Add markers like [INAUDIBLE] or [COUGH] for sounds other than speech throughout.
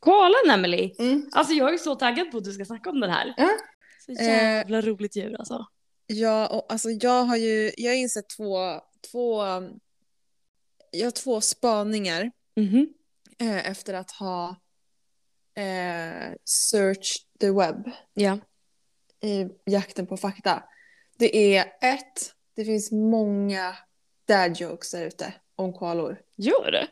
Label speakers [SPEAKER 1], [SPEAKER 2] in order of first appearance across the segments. [SPEAKER 1] Koalan Emily.
[SPEAKER 2] Mm.
[SPEAKER 1] Alltså jag är så taggad på att du ska snacka om den här.
[SPEAKER 2] Ja.
[SPEAKER 1] Så jävla roligt djur alltså.
[SPEAKER 2] Ja, och alltså jag har ju jag har insett två, två, um, jag har två spaningar
[SPEAKER 1] Mhm.
[SPEAKER 2] eh, efter att ha eh, searched the web
[SPEAKER 1] Ja.
[SPEAKER 2] i jakten på fakta. Det är ett, det finns många dad jokes där ute om koalor.
[SPEAKER 1] Gör det?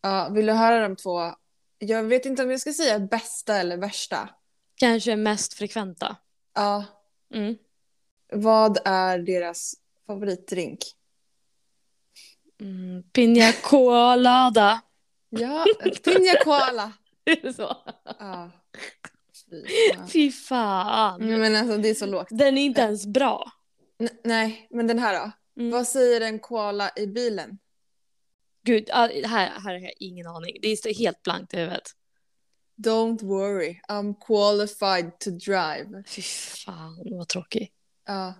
[SPEAKER 2] Ja, vill du höra de två? Jag vet inte om jag ska säga bästa eller värsta.
[SPEAKER 1] Kanske mest frekventa.
[SPEAKER 2] Ja,
[SPEAKER 1] Mm.
[SPEAKER 2] vad är deras favoritdrink?
[SPEAKER 1] Mm. Pina colada.
[SPEAKER 2] Ja, Pina Koala.
[SPEAKER 1] [LAUGHS] Är det så?
[SPEAKER 2] Ja. Fy fan.
[SPEAKER 1] Fy Mm. fan.
[SPEAKER 2] Nej, Men alltså det är så lågt.
[SPEAKER 1] Den är inte ens bra.
[SPEAKER 2] N- nej, men den här då?
[SPEAKER 1] Mm.
[SPEAKER 2] Vad säger en koala i bilen?
[SPEAKER 1] Gud, ah, här, här har jag ingen aning. Det står helt blankt i huvudet.
[SPEAKER 2] Don't worry, I'm qualified to drive.
[SPEAKER 1] Fy fan vad tråkig.
[SPEAKER 2] Ja.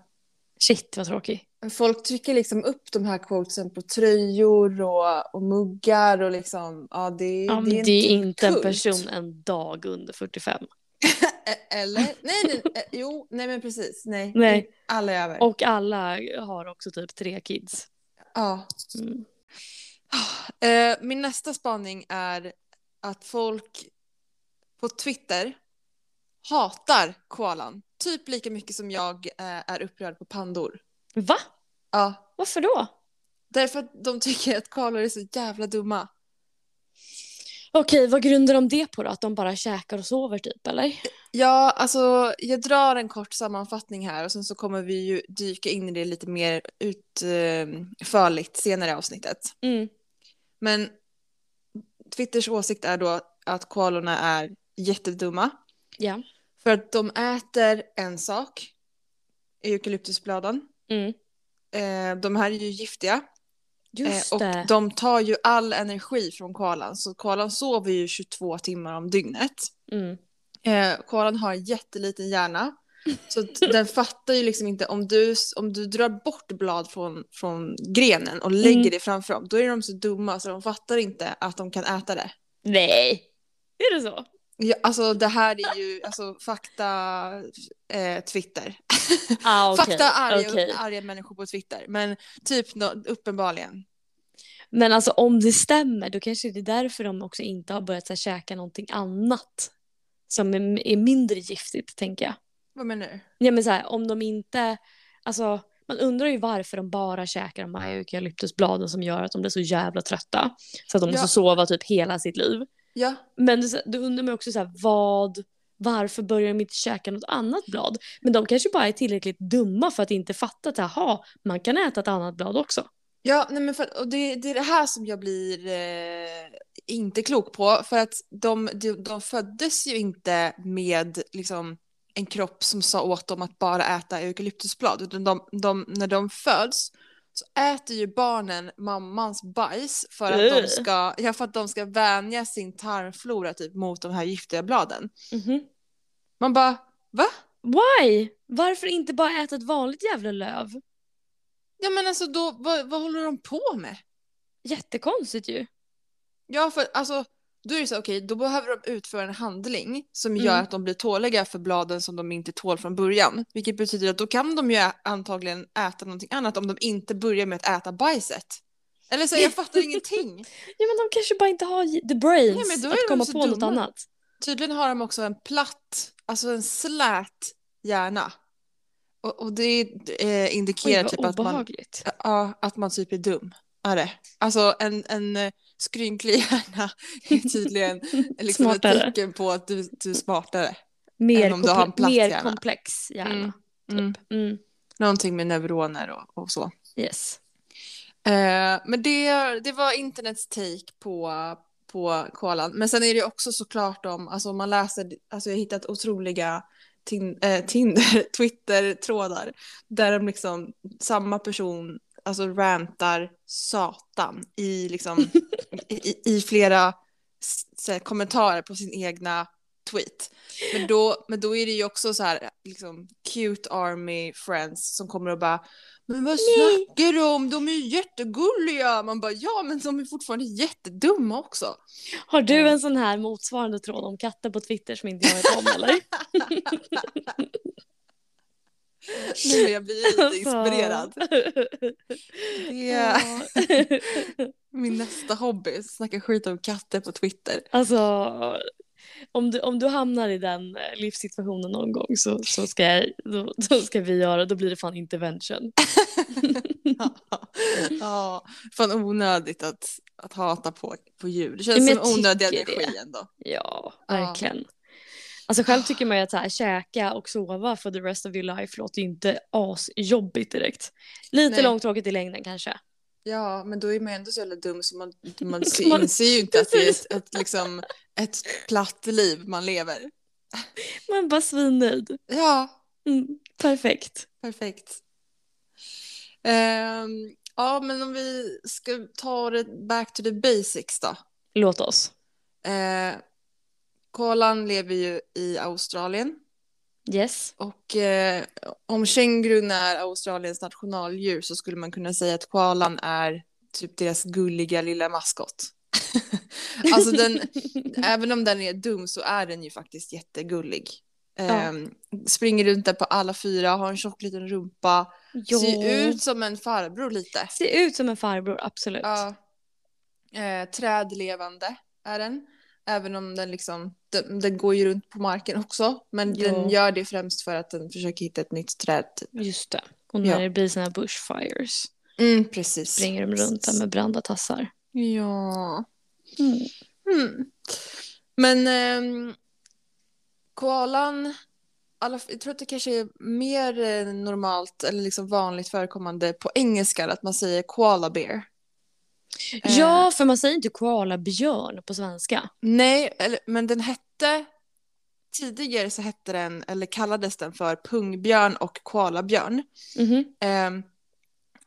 [SPEAKER 1] Shit vad tråkig.
[SPEAKER 2] Folk trycker liksom upp de här quotesen på tröjor och, och muggar och liksom, ja det,
[SPEAKER 1] Ja,
[SPEAKER 2] det är
[SPEAKER 1] men det är
[SPEAKER 2] typ
[SPEAKER 1] inte en
[SPEAKER 2] kult.
[SPEAKER 1] person en dag under 45.
[SPEAKER 2] E- Eller? Nej, nej, eh, jo, nej men precis, nej.
[SPEAKER 1] Nej.
[SPEAKER 2] Alla är över.
[SPEAKER 1] Och alla har också typ tre kids.
[SPEAKER 2] Ja.
[SPEAKER 1] Mm.
[SPEAKER 2] Eh, min nästa spaning är att folk på Twitter hatar koalan. Typ lika mycket som jag eh, är upprörd på pandor.
[SPEAKER 1] Va?
[SPEAKER 2] Ja,
[SPEAKER 1] Varför då?
[SPEAKER 2] därför att de [LAUGHS] tycker att koalor är så jävla dumma.
[SPEAKER 1] Okej, vad grundar de det på då? Att de bara käkar och sover typ, eller?
[SPEAKER 2] Ja, alltså jag drar en kort sammanfattning här och sen så kommer vi ju dyka in i det lite mer utförligt senare i avsnittet.
[SPEAKER 1] Mm.
[SPEAKER 2] Men Twitters åsikt är då att koalorna är jättedumma.
[SPEAKER 1] Ja.
[SPEAKER 2] För att de äter en sak, eukalyptusbladen.
[SPEAKER 1] Mm.
[SPEAKER 2] Eh, de här är ju giftiga
[SPEAKER 1] Just
[SPEAKER 2] eh, och
[SPEAKER 1] det.
[SPEAKER 2] de tar ju all energi från koalan. Så koalan sover ju 22 timmar om dygnet.
[SPEAKER 1] Mm.
[SPEAKER 2] Eh, koalan har en jätteliten hjärna.
[SPEAKER 1] [LAUGHS]
[SPEAKER 2] Så att den fattar ju liksom inte om du, om du drar bort blad från, från grenen och lägger
[SPEAKER 1] Mm.
[SPEAKER 2] det framför dem. Då är de så dumma så de fattar inte att de kan äta det.
[SPEAKER 1] Nej. Är det så?
[SPEAKER 2] Ja, alltså det här är ju alltså, fakta eh, Twitter.
[SPEAKER 1] Ah, okej.
[SPEAKER 2] Fakta arga,
[SPEAKER 1] Okej.
[SPEAKER 2] arga människor på Twitter. Men typ nå- uppenbarligen.
[SPEAKER 1] Men alltså om det stämmer, då kanske det är därför de också inte har börjat så här, käka någonting annat som är, är mindre giftigt, tänker jag.
[SPEAKER 2] Vad menar du?
[SPEAKER 1] Ja, men så här, om de inte... Alltså, man undrar ju varför de bara käkar de här eukalyptusbladen som gör att de blir så jävla trötta. Så att de
[SPEAKER 2] Ja.
[SPEAKER 1] måste sova typ hela sitt liv.
[SPEAKER 2] Ja,
[SPEAKER 1] Men det- då undrar man ju också så här, vad... Varför börjar de inte käka något annat blad? Men de kanske bara är tillräckligt dumma för att inte fatta att aha, man kan äta ett annat blad också.
[SPEAKER 2] ja nej men för, och det, det är det här som jag blir eh, inte klok på. För att de, de, de föddes ju inte med liksom, en kropp som sa åt dem att bara äta eukalyptusblad. Utan de, de, när de föds så äter ju barnen mammans bajs för att, de
[SPEAKER 1] Ugh.
[SPEAKER 2] ska, ja, för att de ska vänja sin tarmflora typ, mot de här giftiga bladen.
[SPEAKER 1] Mhm.
[SPEAKER 2] Man bara, va?
[SPEAKER 1] Why? Varför inte bara äta ett vanligt jävla löv?
[SPEAKER 2] Ja men alltså då, vad, vad håller de på med?
[SPEAKER 1] Jättekonstigt ju.
[SPEAKER 2] Ja för alltså, då är det så här, okej, då behöver de utföra en handling som
[SPEAKER 1] Mm.
[SPEAKER 2] gör att de blir tåliga för bladen som de inte tål från början. Vilket betyder att då kan de ju ä- antagligen äta någonting annat om de inte börjar med att äta bajset. Eller så, här, jag
[SPEAKER 1] [LAUGHS]
[SPEAKER 2] fattar ingenting.
[SPEAKER 1] Ja men de kanske bara inte har the brains
[SPEAKER 2] Nej, men då är
[SPEAKER 1] att
[SPEAKER 2] de
[SPEAKER 1] komma
[SPEAKER 2] så
[SPEAKER 1] på något
[SPEAKER 2] dumma.
[SPEAKER 1] annat.
[SPEAKER 2] Tydligen har de också en platt, alltså en slät hjärna. Och, och det eh, indikerar
[SPEAKER 1] Oj vad
[SPEAKER 2] typ att man,
[SPEAKER 1] obehagligt.
[SPEAKER 2] Ja, att man typ är dum. Är det. Alltså en, en eh, skrynklig hjärna är tydligen liksom ett
[SPEAKER 1] Smartare.
[SPEAKER 2] tecken på att du, du är smartare.
[SPEAKER 1] Mer,
[SPEAKER 2] än om du har en
[SPEAKER 1] komple-
[SPEAKER 2] platt
[SPEAKER 1] mer
[SPEAKER 2] hjärna.
[SPEAKER 1] komplex hjärna.
[SPEAKER 2] Mm.
[SPEAKER 1] Typ. Mm.
[SPEAKER 2] Någonting med neuroner och, och så.
[SPEAKER 1] Yes.
[SPEAKER 2] Eh, men det, det var internets take på, på koalan. Men sen är det ju också såklart om, alltså om man läser, alltså jag har hittat otroliga tin, eh, Tinder, [LAUGHS] Twitter-trådar där de liksom, samma person alltså rantar satan i liksom, i, i- i flera s- så här, kommentarer på sin egna tweet. Men då, men då är det ju också så här, liksom, cute army friends som kommer och bara men vad snackar du om? De är ju jättegulliga! Man bara ja, men de är fortfarande jättedumma också.
[SPEAKER 1] Har
[SPEAKER 2] Mm.
[SPEAKER 1] du en sån här motsvarande tråd om katter på Twitter som inte jag vet om eller?
[SPEAKER 2] Nej, men jag blir lite [LAUGHS] inspirerad. Det är
[SPEAKER 1] Alltså. Ja. [LAUGHS]
[SPEAKER 2] min nästa hobby, snacka skit om katter på Twitter.
[SPEAKER 1] Alltså, om du, om du hamnar i den eh, livssituationen någon gång så, så, ska, jag, då, då ska vi göra, då blir det fan intervention.
[SPEAKER 2] ja, fan onödigt att, att hata på, på djur. Det
[SPEAKER 1] Men
[SPEAKER 2] känns som
[SPEAKER 1] jag
[SPEAKER 2] onödig
[SPEAKER 1] tycker
[SPEAKER 2] energi ändå.
[SPEAKER 1] Ja, verkligen. Alltså själv tycker man ju att så här, käka och sova for the rest of your life låter ju inte asjobbigt direkt. Lite
[SPEAKER 2] Nej.
[SPEAKER 1] långtråkigt i längden kanske.
[SPEAKER 2] Ja, men då är man ju ändå så jävla dum så man,
[SPEAKER 1] [LAUGHS]
[SPEAKER 2] man
[SPEAKER 1] Man-
[SPEAKER 2] ser, inser ju inte att det är ett,
[SPEAKER 1] [LAUGHS]
[SPEAKER 2] ett, liksom, ett platt liv man lever.
[SPEAKER 1] Man bara svinnöjd.
[SPEAKER 2] Ja,
[SPEAKER 1] Mm, perfekt.
[SPEAKER 2] perfekt. Ehm, ja, men om vi ska ta det back to the basics då.
[SPEAKER 1] Låt oss.
[SPEAKER 2] Uh, koalan lever ju i Australien
[SPEAKER 1] Yes.
[SPEAKER 2] och eh, om kängurun är Australiens nationaldjur så skulle man kunna säga att koalan är typ deras gulliga lilla maskot. [LAUGHS]
[SPEAKER 1] [LAUGHS]
[SPEAKER 2] alltså den, även om den är dum så är den ju faktiskt jättegullig. Ehm, Springer runt där på alla fyra, har en tjock liten rumpa,
[SPEAKER 1] Jo.
[SPEAKER 2] ser ut som en farbror lite.
[SPEAKER 1] Ser ut som en farbror, absolut.
[SPEAKER 2] Ja. Eh, trädlevande är den. Även om den liksom, den, den går ju runt på marken också. Men
[SPEAKER 1] Ja.
[SPEAKER 2] den gör det främst för att den försöker hitta ett nytt träd. typ.
[SPEAKER 1] Just det. Och när
[SPEAKER 2] Ja.
[SPEAKER 1] det blir såna här bushfires
[SPEAKER 2] Mm, precis.
[SPEAKER 1] springer de runt där med brända tassar.
[SPEAKER 2] Ja.
[SPEAKER 1] Mm.
[SPEAKER 2] Mm. Men ehm, koalan, alla, jag tror att det kanske är mer eh, normalt eller liksom vanligt förekommande på engelska att man säger koala bear. Eh,
[SPEAKER 1] Ja, för man säger inte koalabjörn på svenska.
[SPEAKER 2] Nej, eller, men den hette... Tidigare så hette den, eller kallades den för pungbjörn och koalabjörn.
[SPEAKER 1] Mhm.
[SPEAKER 2] Ehm,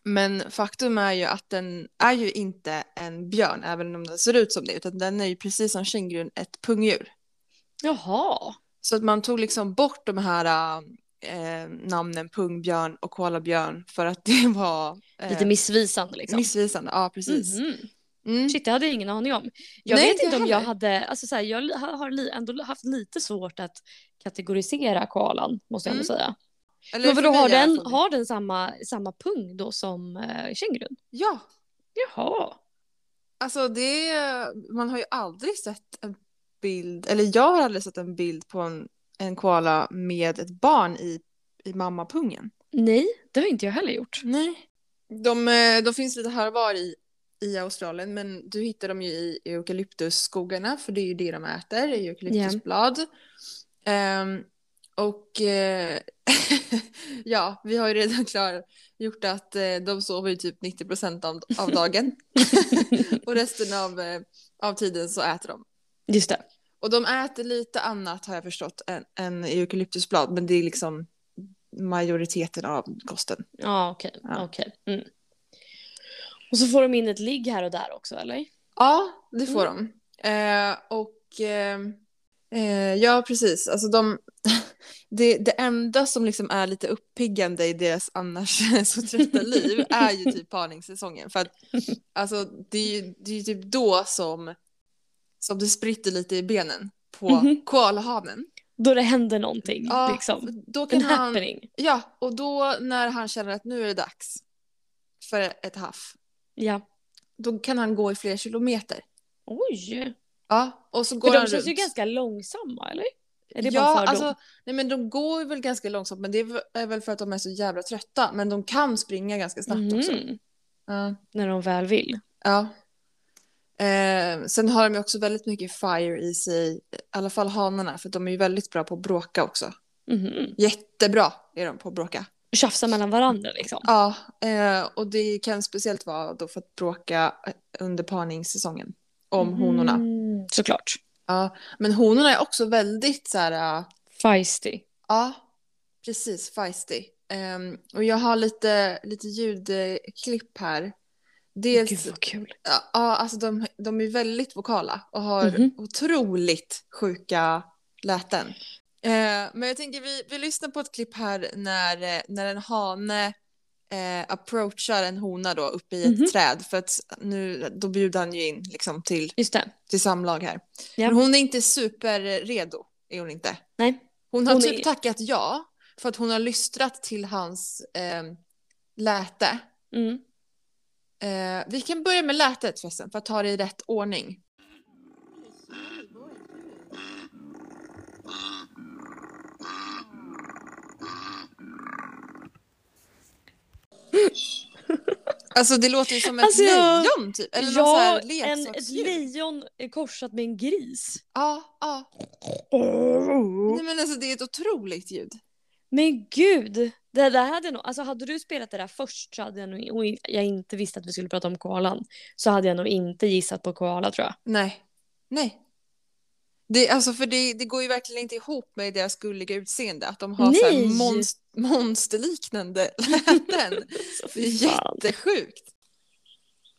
[SPEAKER 2] men faktum är ju att den är ju inte en björn, även om den ser ut som det, utan den är ju precis som kängurun ett pungdjur.
[SPEAKER 1] Jaha.
[SPEAKER 2] Så att man tog liksom bort de här eh, namnen pungbjörn och koalabjörn för att det var eh,
[SPEAKER 1] Lite missvisande liksom.
[SPEAKER 2] missvisande. Ja, precis.
[SPEAKER 1] Mhm.
[SPEAKER 2] Mm.
[SPEAKER 1] Shit, det hade jag ingen aning om. Jag
[SPEAKER 2] Nej,
[SPEAKER 1] vet
[SPEAKER 2] inte
[SPEAKER 1] inte om
[SPEAKER 2] jag
[SPEAKER 1] jag
[SPEAKER 2] heller.
[SPEAKER 1] hade, alltså så här, jag li- har li- ändå haft lite svårt att kategorisera koalan, måste jag ändå
[SPEAKER 2] Mm.
[SPEAKER 1] säga.
[SPEAKER 2] Eller
[SPEAKER 1] Men
[SPEAKER 2] för
[SPEAKER 1] vadå,
[SPEAKER 2] mig
[SPEAKER 1] har
[SPEAKER 2] i alla
[SPEAKER 1] den,
[SPEAKER 2] fall.
[SPEAKER 1] har den samma, samma pung då som eh, kängurun?
[SPEAKER 2] Ja,
[SPEAKER 1] Jaha.
[SPEAKER 2] Alltså det, man har ju aldrig sett en bild, eller jag har aldrig sett en bild på en, en koala med ett barn i, i mammapungen.
[SPEAKER 1] Nej, det har inte jag heller gjort.
[SPEAKER 2] Nej. De, eh, de finns lite här och var i, i Australien, men du hittar dem ju i eukalyptusskogarna, för det är ju det de äter, eukalyptusblad. Ehm, och eh, [LAUGHS] ja, vi har ju redan [LAUGHS] klar gjort att eh, de sover ju typ 90 procent av, av dagen. [LAUGHS] och resten av, eh, av tiden så äter de.
[SPEAKER 1] Just det.
[SPEAKER 2] Och de äter lite annat har jag förstått än, än eukalyptusblad, men det är liksom majoriteten av kosten.
[SPEAKER 1] Ja, okej.
[SPEAKER 2] Ja.
[SPEAKER 1] okej. Mm. Och så får de in ett ligg här och där också, eller?
[SPEAKER 2] Ja, det får
[SPEAKER 1] Mm.
[SPEAKER 2] de. Eh, och eh, eh, ja, precis. Alltså de, [LAUGHS] det, det enda som liksom är lite uppiggande i deras annars [LAUGHS] så trötta liv är ju typ parningssäsongen. För att alltså, det, är ju, det är ju typ då som, som det spritter lite i benen på
[SPEAKER 1] Mhm.
[SPEAKER 2] koalahanen.
[SPEAKER 1] Då det händer någonting,
[SPEAKER 2] Ja,
[SPEAKER 1] liksom.
[SPEAKER 2] Då
[SPEAKER 1] En
[SPEAKER 2] kan han,
[SPEAKER 1] happening.
[SPEAKER 2] ja, och då när han känner att nu är det dags för ett haff,
[SPEAKER 1] Ja.
[SPEAKER 2] då kan han gå i flera kilometer.
[SPEAKER 1] Oj.
[SPEAKER 2] Ja, och så går
[SPEAKER 1] För de
[SPEAKER 2] han
[SPEAKER 1] känns ju
[SPEAKER 2] runt.
[SPEAKER 1] ganska långsamma, eller? Är det bara
[SPEAKER 2] ja,
[SPEAKER 1] en fördom? Mhm.
[SPEAKER 2] alltså, nej men de går ju väl ganska långsamt, men det är v- är väl för att de är så jävla trötta. Men de kan springa ganska snabbt också.
[SPEAKER 1] Mm,
[SPEAKER 2] Ja.
[SPEAKER 1] När de väl vill.
[SPEAKER 2] ja. Eh, sen har de ju också väldigt mycket fire i sig, i alla fall hanarna, för de är ju väldigt bra på att bråka också.
[SPEAKER 1] Mhm.
[SPEAKER 2] Jättebra är de på att bråka.
[SPEAKER 1] Tjafsa mellan varandra, liksom.
[SPEAKER 2] Ja, eh, och det kan speciellt vara då för att bråka under parningssäsongen om honorna.
[SPEAKER 1] Mm, såklart.
[SPEAKER 2] Ja, men honorna är också väldigt så här, eh,
[SPEAKER 1] Feisty.
[SPEAKER 2] ja, precis, feisty. Ehm, och jag har lite, lite ljudklipp här.
[SPEAKER 1] Gud,
[SPEAKER 2] Dels,
[SPEAKER 1] vad kul.
[SPEAKER 2] ja, ja, alltså de, de är väldigt vokala och har
[SPEAKER 1] Mhm.
[SPEAKER 2] otroligt sjuka läten. Eh, men jag tänker vi, vi lyssnar på ett klipp här när, eh, när en hane eh, approachar en hona då uppe i ett
[SPEAKER 1] Mhm.
[SPEAKER 2] träd för att nu då bjuder han ju in liksom till,
[SPEAKER 1] Just det.
[SPEAKER 2] till samlag här.
[SPEAKER 1] Ja.
[SPEAKER 2] Men hon är inte superredo, är hon inte.
[SPEAKER 1] Nej.
[SPEAKER 2] Hon har
[SPEAKER 1] Hon
[SPEAKER 2] typ
[SPEAKER 1] är-
[SPEAKER 2] tackat ja för att hon har lystrat till hans eh, läte.
[SPEAKER 1] Mm.
[SPEAKER 2] Eh, vi kan börja med lätet förresten för att ta det i rätt ordning. [LAUGHS] Alltså det låter ju som ett
[SPEAKER 1] Alltså, jag-
[SPEAKER 2] lejon typ, eller någon sån
[SPEAKER 1] Ja,
[SPEAKER 2] här
[SPEAKER 1] en, ett
[SPEAKER 2] leksaksdjur.
[SPEAKER 1] lejon korsat med en gris.
[SPEAKER 2] Ja, ja. Nej men alltså det är ett otroligt ljud.
[SPEAKER 1] Men gud! Det där hade jag nog, alltså hade du spelat det där först så hade jag nog, och jag inte visste att vi skulle prata om koalan, så hade jag nog inte gissat på koala tror jag.
[SPEAKER 2] Nej, nej. Det, alltså för det, det går ju verkligen inte ihop med deras gulliga utseende, att de har så här
[SPEAKER 1] Nej.
[SPEAKER 2] monst,
[SPEAKER 1] [LAUGHS]
[SPEAKER 2] monsterliknande läten. Det är jättesjukt.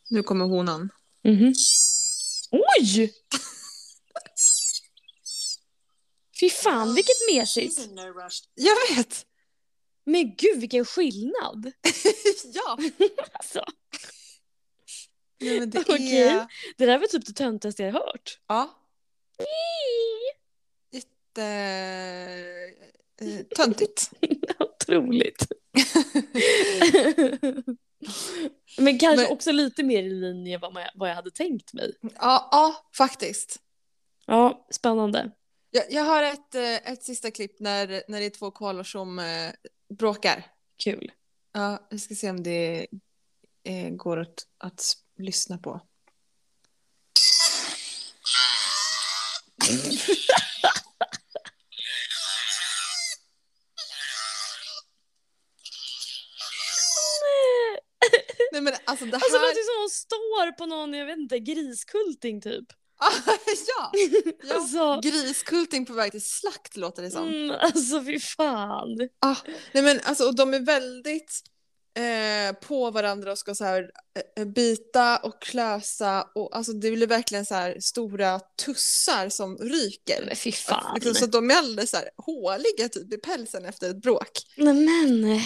[SPEAKER 2] Nu kommer honan.
[SPEAKER 1] Mhm. Oj! Fy fan vilket mesigt!
[SPEAKER 3] She's in no rush.
[SPEAKER 2] Jag vet! [LAUGHS]
[SPEAKER 1] Men gud vilken skillnad!
[SPEAKER 2] ja!
[SPEAKER 1] [LAUGHS] Alltså,
[SPEAKER 2] Nej, men det
[SPEAKER 1] Okej.
[SPEAKER 2] är...
[SPEAKER 1] det där var typ det töntigaste jag har hört. [LAUGHS]
[SPEAKER 2] Ja, jätte... eh, Töntigt.
[SPEAKER 1] Otroligt. [LAUGHS] Men kanske
[SPEAKER 2] Men-
[SPEAKER 1] också lite mer i linje vad, man, vad jag hade tänkt mig.
[SPEAKER 2] Ja, ja faktiskt.
[SPEAKER 1] Ja, spännande.
[SPEAKER 2] Jag, jag har ett, eh, ett sista klipp när, när det är två koalor som eh, bråkar.
[SPEAKER 1] Kul.
[SPEAKER 2] Ja, vi ska se om det eh, går att, att s-
[SPEAKER 1] [LAUGHS]
[SPEAKER 2] lyssna på. Nej men alltså det här...
[SPEAKER 1] Alltså det låter ju som att hon står på någon, jag vet inte, griskulting typ.
[SPEAKER 2] [LAUGHS] ja! ja.
[SPEAKER 1] [LAUGHS] Alltså,
[SPEAKER 2] Griskulting på väg till slakt låter det som.
[SPEAKER 1] mm, alltså fy fan.
[SPEAKER 2] Nej men alltså och de är väldigt eh, på varandra och ska så här eh, bita och klösa och alltså det blir verkligen så här stora tussar som ryker.
[SPEAKER 1] Men fy fan.
[SPEAKER 2] Liksom, så att de är alldeles så här håliga typ i pälsen efter ett bråk.
[SPEAKER 1] Nej men.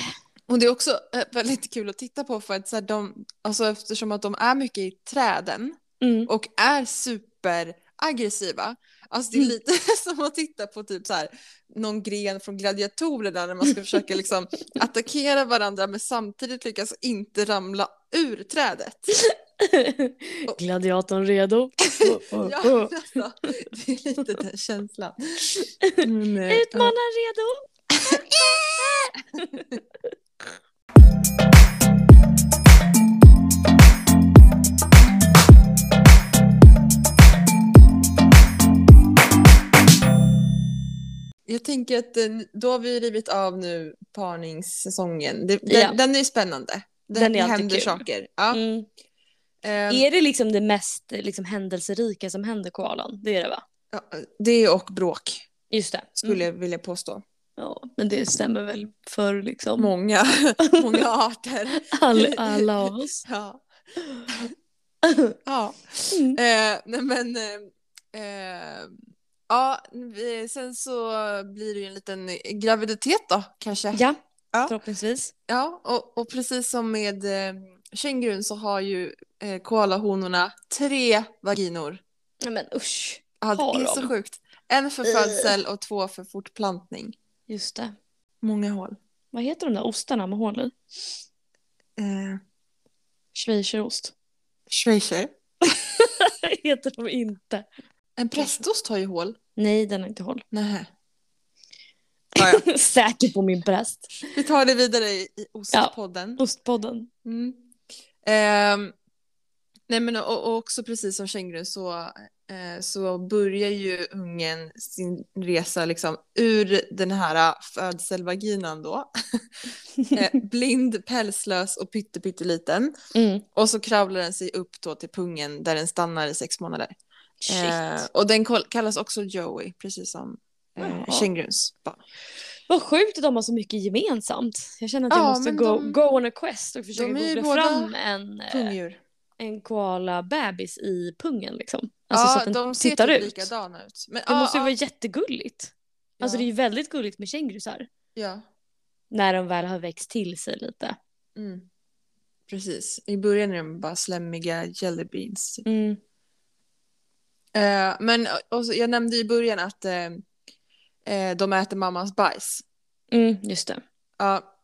[SPEAKER 2] Och det är också eh, väldigt kul att titta på för att så här, de, alltså eftersom att de är mycket i träden
[SPEAKER 1] Mm.
[SPEAKER 2] och är superaggressiva. Alltså det är
[SPEAKER 1] Mm.
[SPEAKER 2] lite [LAUGHS] som att titta på typ så här, någon gren från gladiatorerna när man ska
[SPEAKER 1] [LAUGHS]
[SPEAKER 2] försöka liksom attackera varandra men samtidigt lyckas inte ramla ur trädet.
[SPEAKER 1] [LAUGHS] Gladiatorn [LAUGHS] redo. Oh, oh,
[SPEAKER 2] Ja,
[SPEAKER 1] oh.
[SPEAKER 2] alltså, det är lite den känslan. Men, eh, ja.
[SPEAKER 1] Utmanaren redo.
[SPEAKER 2] Jag tänker att eh, då har vi rivit av nu parningssäsongen. Det, den,
[SPEAKER 1] Ja.
[SPEAKER 2] den är ju spännande. Den,
[SPEAKER 1] Den är
[SPEAKER 2] det
[SPEAKER 1] alltid
[SPEAKER 2] händer
[SPEAKER 1] kul.
[SPEAKER 2] saker. Ja.
[SPEAKER 1] Mm.
[SPEAKER 2] Ehm,
[SPEAKER 1] Är det liksom det mest liksom, händelserika som händer koalan? Det är det va?
[SPEAKER 2] ja, det och bråk
[SPEAKER 1] Just det.
[SPEAKER 2] skulle
[SPEAKER 1] Mm.
[SPEAKER 2] jag vilja påstå.
[SPEAKER 1] Ja, men det stämmer väl för liksom
[SPEAKER 2] [LAUGHS] Många, många arter.
[SPEAKER 1] all, alla av [LAUGHS] oss.
[SPEAKER 2] [LAUGHS] Ja. ja.
[SPEAKER 1] Mm.
[SPEAKER 2] Eh, nej men, eh, eh, ja, vi- sen så blir det ju en liten graviditet då kanske.
[SPEAKER 1] Ja,
[SPEAKER 2] Ja.
[SPEAKER 1] förhoppningsvis.
[SPEAKER 2] Ja, och, och precis som med eh, kängurun så har ju eh, koalahonorna tre vaginor.
[SPEAKER 1] Nej men usch.
[SPEAKER 2] Ja,
[SPEAKER 1] Har
[SPEAKER 2] det är
[SPEAKER 1] de? Eh.
[SPEAKER 2] så sjukt. En för
[SPEAKER 1] Ugh.
[SPEAKER 2] födsel och två för fortplantning.
[SPEAKER 1] Just det.
[SPEAKER 2] Många hål.
[SPEAKER 1] Vad heter de där ostarna med hål i?
[SPEAKER 2] Eh,
[SPEAKER 1] Schweizerost.
[SPEAKER 2] Schweizer.
[SPEAKER 1] [LAUGHS] heter de inte.
[SPEAKER 2] En prästost har ju hål.
[SPEAKER 1] Nej, den har inte hål.
[SPEAKER 2] Nähä. Ja,
[SPEAKER 1] [LAUGHS]
[SPEAKER 2] ja.
[SPEAKER 1] Säker på min präst.
[SPEAKER 2] [LAUGHS] Vi tar det vidare i, i ostpodden.
[SPEAKER 1] Ostpodden.
[SPEAKER 2] Mm. Ehm, nej men och, och också precis som kängurun så, eh, så börjar ju ungen sin resa liksom ur den här eh, födselvaginan då. [LAUGHS] Eh, blind, pälslös och pytte, pytteliten.
[SPEAKER 1] Mm.
[SPEAKER 2] Och så kravlar den sig upp då till pungen där den stannar i sex månader.
[SPEAKER 1] Shit.
[SPEAKER 2] Eh, och den kol- kallas också Joey, precis som eh,
[SPEAKER 1] Jaha.
[SPEAKER 2] kängurus barn.
[SPEAKER 1] Vad sjukt att de har så mycket gemensamt. Jag känner att jag
[SPEAKER 2] Ja,
[SPEAKER 1] måste
[SPEAKER 2] men
[SPEAKER 1] go,
[SPEAKER 2] de-
[SPEAKER 1] go on a quest och försöka
[SPEAKER 2] de är ju
[SPEAKER 1] googla
[SPEAKER 2] båda
[SPEAKER 1] fram en, eh,
[SPEAKER 2] Pungdjur.
[SPEAKER 1] en koala-bebis i pungen. Liksom. Alltså
[SPEAKER 2] ja,
[SPEAKER 1] så att den
[SPEAKER 2] de ser
[SPEAKER 1] tittar
[SPEAKER 2] typ
[SPEAKER 1] ut.
[SPEAKER 2] likadana ut. Men,
[SPEAKER 1] Det
[SPEAKER 2] ja,
[SPEAKER 1] måste ju
[SPEAKER 2] ja,
[SPEAKER 1] vara jättegulligt. Alltså
[SPEAKER 2] ja,
[SPEAKER 1] det är ju väldigt gulligt med kängurusar.
[SPEAKER 2] Ja,
[SPEAKER 1] När de väl har växt till sig lite.
[SPEAKER 2] mm. precis. I början är de bara slemmiga jelly beans. typ.
[SPEAKER 1] Mm.
[SPEAKER 2] Eh, men och så, jag nämnde i början att eh, eh, de äter mammas bajs.
[SPEAKER 1] Mm, just det.
[SPEAKER 2] Ja,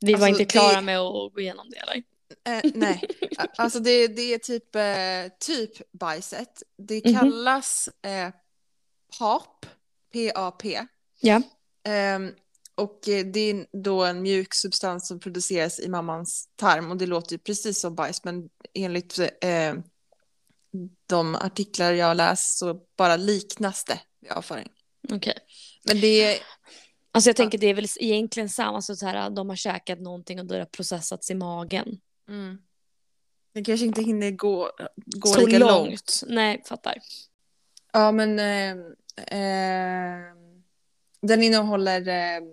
[SPEAKER 1] Vi var
[SPEAKER 2] Alltså,
[SPEAKER 1] inte
[SPEAKER 2] det-
[SPEAKER 1] klara med att gå igenom det eller?
[SPEAKER 2] Eh, nej,
[SPEAKER 1] [LAUGHS]
[SPEAKER 2] A- alltså det, det är typ, eh, typ bajset. Det
[SPEAKER 1] Mhm.
[SPEAKER 2] kallas eh, PAP, P-A-P.
[SPEAKER 1] Ja.
[SPEAKER 2] Ehm, och eh, det är då en mjuk substans som produceras i mammans tarm och det låter ju precis som bajs men enligt eh, de artiklar jag läst så bara liknas det vid avföring.
[SPEAKER 1] Okej.
[SPEAKER 2] Men det är,
[SPEAKER 1] Alltså jag tänker det är väl egentligen samma. Alltså så här, de har käkat någonting och det har processats i magen.
[SPEAKER 2] mm, det kanske inte hinner gå, gå
[SPEAKER 1] Så
[SPEAKER 2] lika långt.
[SPEAKER 1] Nej, fattar.
[SPEAKER 2] Ja, men ehm, ehm, den innehåller ehm,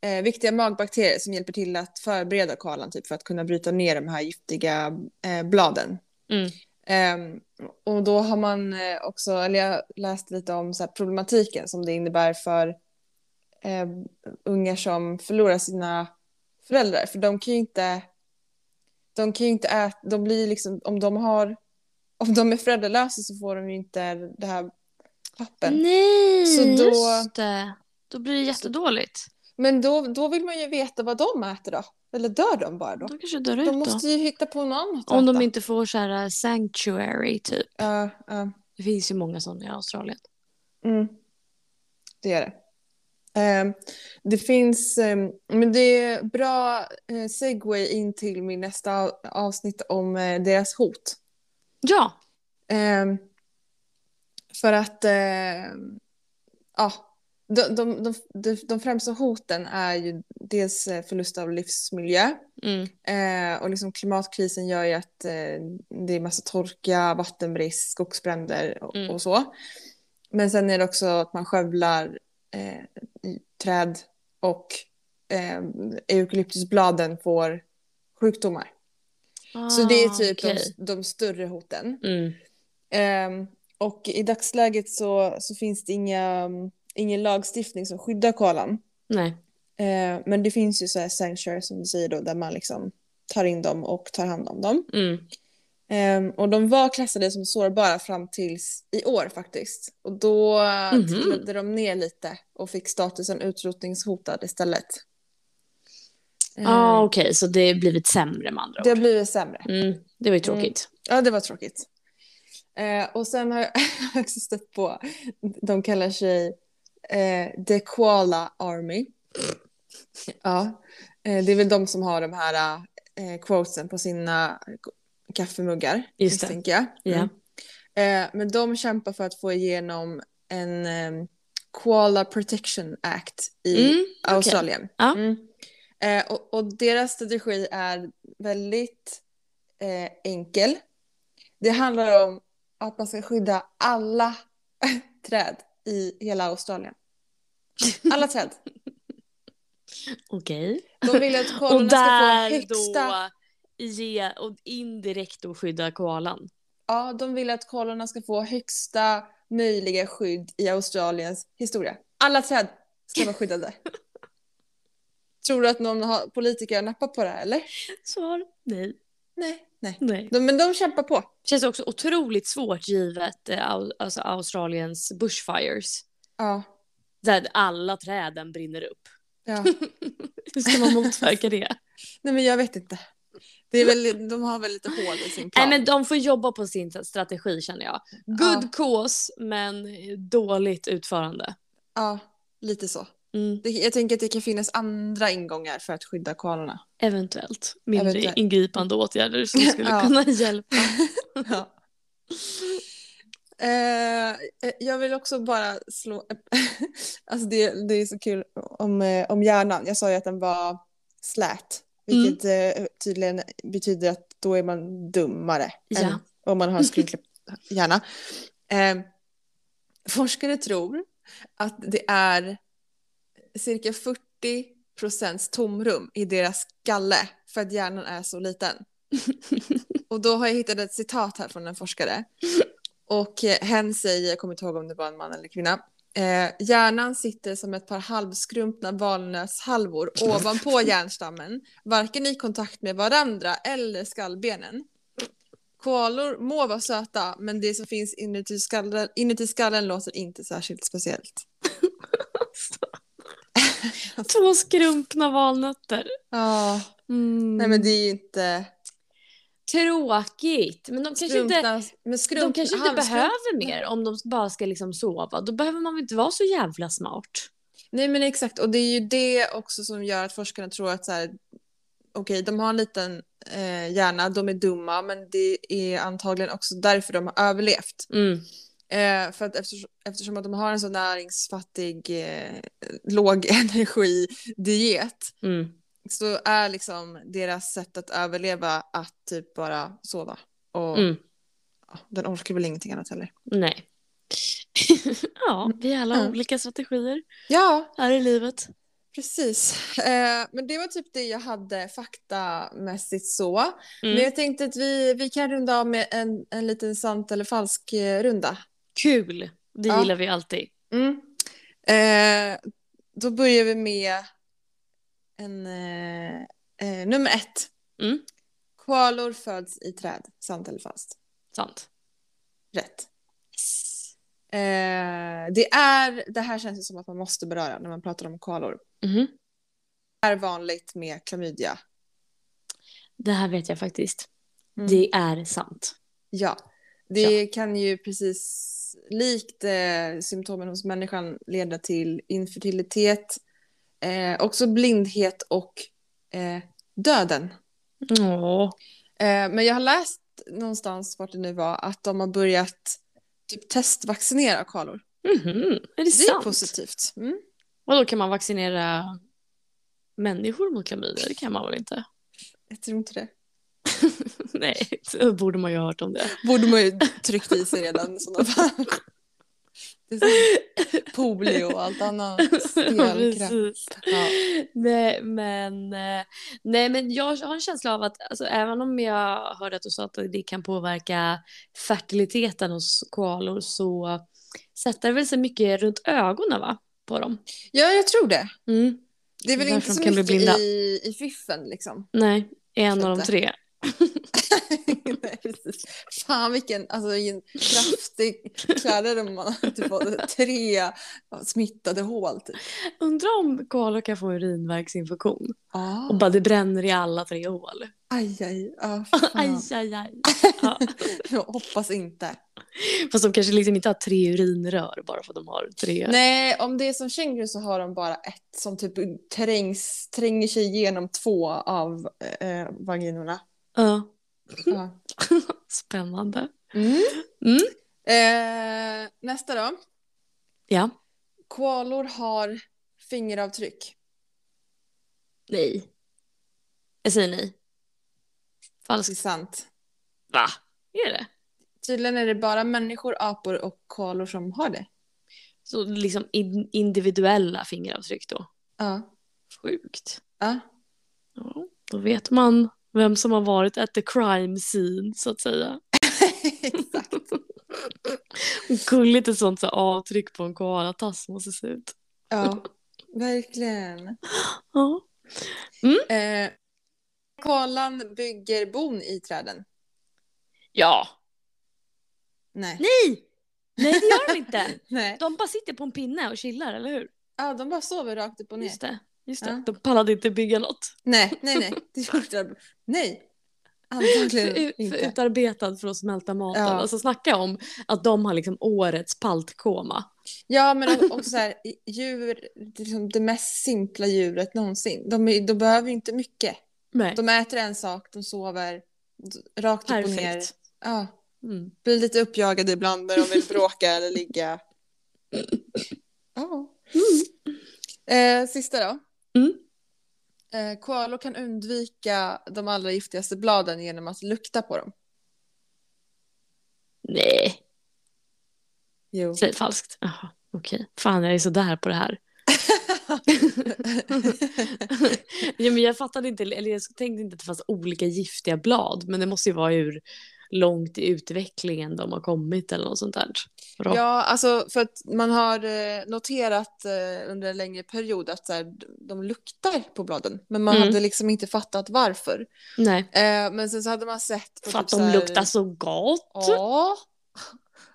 [SPEAKER 2] eh, viktiga magbakterier som hjälper till att förbereda koalan typ, för att kunna bryta ner de här giftiga eh, bladen.
[SPEAKER 1] Mm.
[SPEAKER 2] Ehm, och då har man eh, också, eller jag läste lite om så här, problematiken som det innebär för eh, ungar som förlorar sina föräldrar. För de kan ju inte, de kan ju inte äta, de blir liksom, om de har, om de är föräldralösa så får de ju inte det här pappen.
[SPEAKER 1] Nej,
[SPEAKER 2] Så då-
[SPEAKER 1] just det. Då blir det jättedåligt.
[SPEAKER 2] Men då, då vill man ju veta vad de äter då. Eller dör de bara då?
[SPEAKER 1] De kanske dör ut
[SPEAKER 2] De
[SPEAKER 1] då.
[SPEAKER 2] måste ju hitta på något annat
[SPEAKER 1] Om
[SPEAKER 2] att
[SPEAKER 1] de
[SPEAKER 2] äta.
[SPEAKER 1] inte får så här eh, sanctuary typ.
[SPEAKER 2] Ja, ja.
[SPEAKER 1] Det finns ju många sådana i Australien.
[SPEAKER 2] Mm. Det gör det. Ehm, det finns, ehm, men det är bra eh, segway in till min nästa av- avsnitt om eh, deras hot.
[SPEAKER 1] Ja,
[SPEAKER 2] Ehm, för att, ehm, ja, de, de, de, de, de främsta hoten är ju dels eh, förlust av livsmiljö
[SPEAKER 1] mm.
[SPEAKER 2] eh, och liksom klimatkrisen gör ju att eh, det är massa torka, vattenbrist, skogsbränder och,
[SPEAKER 1] Mm.
[SPEAKER 2] och så. Men sen är det också att man skövlar eh, i träd och eh, eukalyptusbladen får sjukdomar. Så det är
[SPEAKER 1] Ah,
[SPEAKER 2] typ
[SPEAKER 1] okej.
[SPEAKER 2] de, de större hoten.
[SPEAKER 1] Mm.
[SPEAKER 2] Ehm, och i dagsläget så, så finns det inga, ingen lagstiftning som skyddar koalan.
[SPEAKER 1] Nej.
[SPEAKER 2] Ehm, men det finns ju så här sanctuary som du säger då, där man liksom tar in dem och tar hand om dem.
[SPEAKER 1] Mm.
[SPEAKER 2] Ehm, och de var klassade som sårbara fram tills i år faktiskt. Och då
[SPEAKER 1] Mhm.
[SPEAKER 2] trillade de ner lite och fick statusen utrotningshotad istället. Ehm,
[SPEAKER 1] Ah, Okej, så det har blivit sämre med andra
[SPEAKER 2] Det har
[SPEAKER 1] ord.
[SPEAKER 2] blivit sämre.
[SPEAKER 1] Mm. Det var ju tråkigt.
[SPEAKER 2] Ja, det var tråkigt. Eh, och sen har jag [LAUGHS] också stött på, de kallar sig eh, The Koala Army. Ja, eh, det är väl de som har de här eh, quotesen på sina kaffemuggar,
[SPEAKER 1] Just det.
[SPEAKER 2] misstänker jag. Mm.
[SPEAKER 1] Ja.
[SPEAKER 2] Eh, men de kämpar för att få igenom en eh, Koala Protection Act i
[SPEAKER 1] Mm. okej.
[SPEAKER 2] Australien.
[SPEAKER 1] Ja.
[SPEAKER 2] Mm. Eh, och, och deras strategi är väldigt eh, enkel. Det handlar om att man ska skydda alla [LAUGHS] träd i hela Australien. Alla träd.
[SPEAKER 1] Okej.
[SPEAKER 2] De vill
[SPEAKER 1] [LAUGHS]
[SPEAKER 2] att
[SPEAKER 1] Och
[SPEAKER 2] koalorna ska
[SPEAKER 1] där
[SPEAKER 2] få högsta...
[SPEAKER 1] då ge och indirekt då skydda koalan.
[SPEAKER 2] Ja, de vill att koalorna ska få högsta möjliga skydd i Australiens historia. Alla träd ska
[SPEAKER 1] [LAUGHS]
[SPEAKER 2] vara skyddade. Tror du att någon har, politiker har nappat på det här eller?
[SPEAKER 1] Svar nej.
[SPEAKER 2] Nej, nej.
[SPEAKER 1] nej.
[SPEAKER 2] De, men de kämpar på.
[SPEAKER 1] Känns också otroligt svårt givet eh, au- alltså Australiens bushfires.
[SPEAKER 2] Ja,
[SPEAKER 1] Där alla träden brinner upp.
[SPEAKER 2] ja.
[SPEAKER 1] Hur ska man motverka det?
[SPEAKER 2] Nej men jag vet inte. Det är väl, de har väl lite hål i
[SPEAKER 1] [LAUGHS]
[SPEAKER 2] sin
[SPEAKER 1] Nej
[SPEAKER 2] plan.
[SPEAKER 1] men de får jobba på sin strategi känner jag. Good
[SPEAKER 2] Ja.
[SPEAKER 1] cause men dåligt utförande.
[SPEAKER 2] Ja, lite så.
[SPEAKER 1] Mm,
[SPEAKER 2] Det, jag tänker att det kan finnas andra ingångar för att
[SPEAKER 1] [LAUGHS]
[SPEAKER 2] skydda koalorna.
[SPEAKER 1] eventuellt mindre
[SPEAKER 2] Eventuellt.
[SPEAKER 1] ingripande åtgärder [LAUGHS] som skulle
[SPEAKER 2] Ja.
[SPEAKER 1] kunna [LAUGHS] hjälpa.
[SPEAKER 2] Ja. Eh, jag vill också bara slå... [LAUGHS] alltså det, det är så kul om, eh, om hjärnan. Jag sa ju att den var slät,
[SPEAKER 1] Mm.
[SPEAKER 2] vilket eh, tydligen betyder att då är man dummare
[SPEAKER 1] Ja.
[SPEAKER 2] än om man har en skrynklig hjärna. Eh, forskare tror att det är cirka 40 procents tomrum i deras skalle för att hjärnan är så liten. Och då har jag hittat ett citat här från en forskare. Och eh, hen säger, jag kommer inte ihåg om det var en man eller kvinna, eh, hjärnan sitter som ett par halvskrumpna valnötshalvor ovanpå hjärnstammen, varken i kontakt med varandra eller skallbenen. Koalor må vara söta, men det som finns inuti skallen, inuti skallen låter inte särskilt speciellt.
[SPEAKER 1] Två skrumpna valnötter.
[SPEAKER 2] Ja,
[SPEAKER 1] Mm.
[SPEAKER 2] nej men det är ju inte...
[SPEAKER 1] Tråkigt. Men de kanske inte,
[SPEAKER 2] Skrumpna, men
[SPEAKER 1] de
[SPEAKER 2] skrump,
[SPEAKER 1] kanske inte
[SPEAKER 2] halvskrumpna-
[SPEAKER 1] behöver mer om de bara ska liksom sova. Då behöver man väl inte vara så jävla smart.
[SPEAKER 2] Nej men exakt, och det är ju det också som gör att forskarna tror att så här, okej de har en liten eh, hjärna, de är dumma men det är antagligen också därför de har överlevt.
[SPEAKER 1] Mm.
[SPEAKER 2] Eh, för att eftersom, eftersom att de har en så näringsfattig, eh, låg [LAUGHS] energidiet
[SPEAKER 1] Mm.
[SPEAKER 2] så är liksom deras sätt att överleva att typ bara sova. Och
[SPEAKER 1] Mm.
[SPEAKER 2] ja, den orkar väl ingenting annat heller.
[SPEAKER 1] Nej. [LAUGHS] ja, vi har alla
[SPEAKER 2] Ja.
[SPEAKER 1] olika strategier
[SPEAKER 2] Ja,
[SPEAKER 1] här i livet.
[SPEAKER 2] precis. Eh, men det var typ det jag hade faktamässigt så.
[SPEAKER 1] Mm.
[SPEAKER 2] Men jag tänkte att vi, vi kan runda av med en, en liten sant eller falsk eh, runda.
[SPEAKER 1] Kul! Det
[SPEAKER 2] Ja. Mm.
[SPEAKER 1] gillar vi alltid.
[SPEAKER 2] Eh, då börjar vi med en, eh, eh, nummer ett.
[SPEAKER 1] Mm.
[SPEAKER 2] Koalor föds i träd, sant eller falskt?
[SPEAKER 1] Sant.
[SPEAKER 2] Rätt. Eh, det, är, det här känns ju som att man måste beröra när man pratar om koalor.
[SPEAKER 1] Mhm.
[SPEAKER 2] Det är vanligt med klamydia.
[SPEAKER 1] Det här vet jag faktiskt.
[SPEAKER 2] Mm.
[SPEAKER 1] Det är sant.
[SPEAKER 2] Ja, det kan ju precis likt eh, symptomen hos människan leda till infertilitet, eh, också blindhet och eh, döden.
[SPEAKER 1] Ja.
[SPEAKER 2] Eh, men jag har läst någonstans, vart det nu var, att de har börjat typ testvaccinera kalor.
[SPEAKER 1] Mhm. Är det,
[SPEAKER 2] Det är
[SPEAKER 1] sant?
[SPEAKER 2] positivt. Mm.
[SPEAKER 1] Och då kan man vaccinera människor mot klamydia? Det kan man väl inte? [LAUGHS]
[SPEAKER 2] Jag tror inte det.
[SPEAKER 1] Nej, [LAUGHS] då borde man ju ha hört om det.
[SPEAKER 2] Borde man ju tryckt i sig redan i sådana fall. Det är som polio och
[SPEAKER 1] [LAUGHS]
[SPEAKER 2] allt annat. Stelkramp.
[SPEAKER 1] Precis.
[SPEAKER 2] Ja.
[SPEAKER 1] Nej men, eh, nej men jag har en känsla av att alltså, även om jag hörde att du sa att det kan påverka fertiliteten hos koalor så sätter det väl sig mycket runt ögonen va? På dem.
[SPEAKER 2] ja, jag tror det.
[SPEAKER 1] Mm.
[SPEAKER 2] Det är väl
[SPEAKER 1] Därför
[SPEAKER 2] inte
[SPEAKER 1] de
[SPEAKER 2] så
[SPEAKER 1] kan bli
[SPEAKER 2] mycket
[SPEAKER 1] blinda.
[SPEAKER 2] i, i fiffen liksom. [LAUGHS]
[SPEAKER 1] Nej, en av de
[SPEAKER 2] Fattar.
[SPEAKER 1] tre.
[SPEAKER 2] Nej, precis. Fan vilken, alltså, vilken kraftig kläder om man har typ fått tre smittade hål. Typ.
[SPEAKER 1] Undrar om koalor kan få urinvägsinfektion
[SPEAKER 2] Ah.
[SPEAKER 1] och bara det bränner i alla tre hål.
[SPEAKER 2] Aj, aj, ah,
[SPEAKER 1] [LAUGHS] Aj,
[SPEAKER 2] fan.
[SPEAKER 1] aj, aj.
[SPEAKER 2] Jag hoppas inte.
[SPEAKER 1] Fast de kanske liksom inte har tre urinrör bara för att de har tre.
[SPEAKER 2] Nej, om det är som känguru så har de bara ett som typ trängs, tränger sig igenom två av eh, vaginorna.
[SPEAKER 1] Ja. [LAUGHS]
[SPEAKER 2] Ja.
[SPEAKER 1] Spännande.
[SPEAKER 2] Mm.
[SPEAKER 1] Mm.
[SPEAKER 2] Eh, nästa då.
[SPEAKER 1] Ja.
[SPEAKER 2] Koalor har fingeravtryck.
[SPEAKER 1] Nej. Jag säger nej.
[SPEAKER 2] Det är
[SPEAKER 1] Falskt.
[SPEAKER 2] sant.
[SPEAKER 1] Va? Är det?
[SPEAKER 2] Tydligen är det bara människor, apor och koalor som har det.
[SPEAKER 1] Så liksom in- individuella fingeravtryck då?
[SPEAKER 2] Ja.
[SPEAKER 1] Sjukt.
[SPEAKER 2] ja. [LAUGHS]
[SPEAKER 1] Ja, då vet man vem som har varit at the crime scene så att säga.
[SPEAKER 2] Exakt.
[SPEAKER 1] Gulligt ett sånt så här avtryck på en koalatass måste se ut.
[SPEAKER 2] Ja, verkligen.
[SPEAKER 1] Ja.
[SPEAKER 2] Eh, koalan bygger bon i träden.
[SPEAKER 1] ja.
[SPEAKER 2] Nej.
[SPEAKER 1] Nej! Nej det gör de inte.
[SPEAKER 2] Nej.
[SPEAKER 1] De bara sitter på en pinne och chillar, eller hur?
[SPEAKER 2] Ja, de bara sover rakt upp och ner.
[SPEAKER 1] Just det. Just det.
[SPEAKER 2] Ja.
[SPEAKER 1] De pallade inte bygga något.
[SPEAKER 2] Nej, nej, nej. Det gjorde de. Nej. Antagligen
[SPEAKER 1] För, för
[SPEAKER 2] inte.
[SPEAKER 1] utarbetad för att smälta maten.
[SPEAKER 2] Ja.
[SPEAKER 1] Alltså snacka om att de har liksom årets paltkoma.
[SPEAKER 2] Ja, men också så här, djur, det är liksom det mest simpla djuret någonsin. De, är, de behöver ju inte mycket.
[SPEAKER 1] Nej,
[SPEAKER 2] De äter en sak, de sover rakt upp och ner.
[SPEAKER 1] perfekt.
[SPEAKER 2] Ja.
[SPEAKER 1] Mm.
[SPEAKER 2] Blir lite uppjagade ibland när de vill bråka eller ligga. Ja. Eh, sista då.
[SPEAKER 1] Mm.
[SPEAKER 2] Eh, koalor kan undvika de allra giftigaste bladen genom att lukta på dem.
[SPEAKER 1] Nej,
[SPEAKER 2] [LAUGHS] Jo.
[SPEAKER 1] säg falskt. Jaha, okej. Fan, jag är så där på det
[SPEAKER 2] [LAUGHS]
[SPEAKER 1] här. ja, men jag fattade inte, eller jag tänkte inte att det fanns olika giftiga blad, men det måste ju vara ur långt i utvecklingen de har kommit eller något sånt där. Bra.
[SPEAKER 2] Ja, alltså för att man har eh, noterat eh, under en längre period att så här, de luktar på bladen. Men man
[SPEAKER 1] Mm.
[SPEAKER 2] hade liksom inte fattat varför.
[SPEAKER 1] Nej.
[SPEAKER 2] Eh, men sen så hade man sett... på
[SPEAKER 1] För att
[SPEAKER 2] typ så
[SPEAKER 1] de
[SPEAKER 2] här-
[SPEAKER 1] luktar så gott.
[SPEAKER 2] Ja.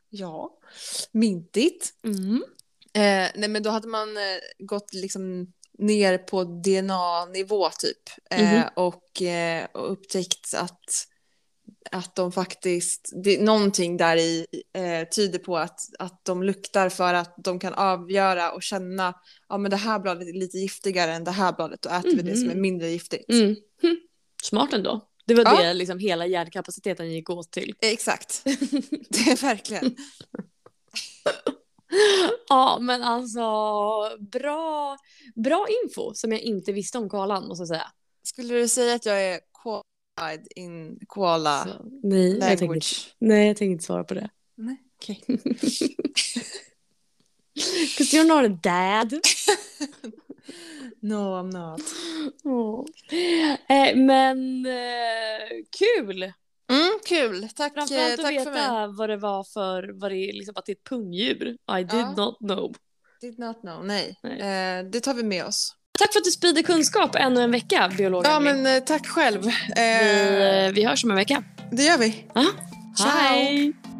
[SPEAKER 2] Ja. Mintigt.
[SPEAKER 1] Mm.
[SPEAKER 2] Eh, nej, men då hade man eh, gått liksom ner på DNA-nivå typ. Eh,
[SPEAKER 1] Mhm.
[SPEAKER 2] och, eh, och upptäckt att, att de faktiskt, det, någonting där i eh, tyder på att, att de luktar för att de kan avgöra och känna, ja men det här bladet är lite giftigare än det här bladet, då äter vi det som är
[SPEAKER 1] Mhm.
[SPEAKER 2] mindre giftigt.
[SPEAKER 1] Mm. Hm. Smart ändå. Det var
[SPEAKER 2] Ja.
[SPEAKER 1] det liksom hela hjärnkapaciteten gick åt till.
[SPEAKER 2] Eh,
[SPEAKER 1] [LAUGHS]
[SPEAKER 2] Exakt, det är verkligen.
[SPEAKER 1] Ja, men alltså bra, bra info som jag inte visste om koalan måste jag säga.
[SPEAKER 2] Skulle du säga att jag är qualified in koala
[SPEAKER 1] Så, nej, jag tänker, inte-
[SPEAKER 2] language?
[SPEAKER 1] nej, jag tänker inte svara på det.
[SPEAKER 2] Nej, okej.
[SPEAKER 1] Because you're not a dad.
[SPEAKER 2] No, I'm not.
[SPEAKER 1] Åh. Eh, men eh, kul!
[SPEAKER 2] Mm, kul, tack, eh, tack
[SPEAKER 1] Framförallt att
[SPEAKER 2] för mig.
[SPEAKER 1] veta vad det var för, vad det är, liksom att det är ett pungdjur. I did
[SPEAKER 2] Ja.
[SPEAKER 1] not know.
[SPEAKER 2] Did not know, nej.
[SPEAKER 1] Nej.
[SPEAKER 2] Eh, det tar vi med oss.
[SPEAKER 1] Tack för att du sprider kunskap ännu en vecka, biologen.
[SPEAKER 2] Ja, men eh, tack själv. Eh,
[SPEAKER 1] vi, eh, vi hörs om en vecka.
[SPEAKER 2] det gör vi.
[SPEAKER 1] Ja.
[SPEAKER 2] Ciao.
[SPEAKER 1] Hej!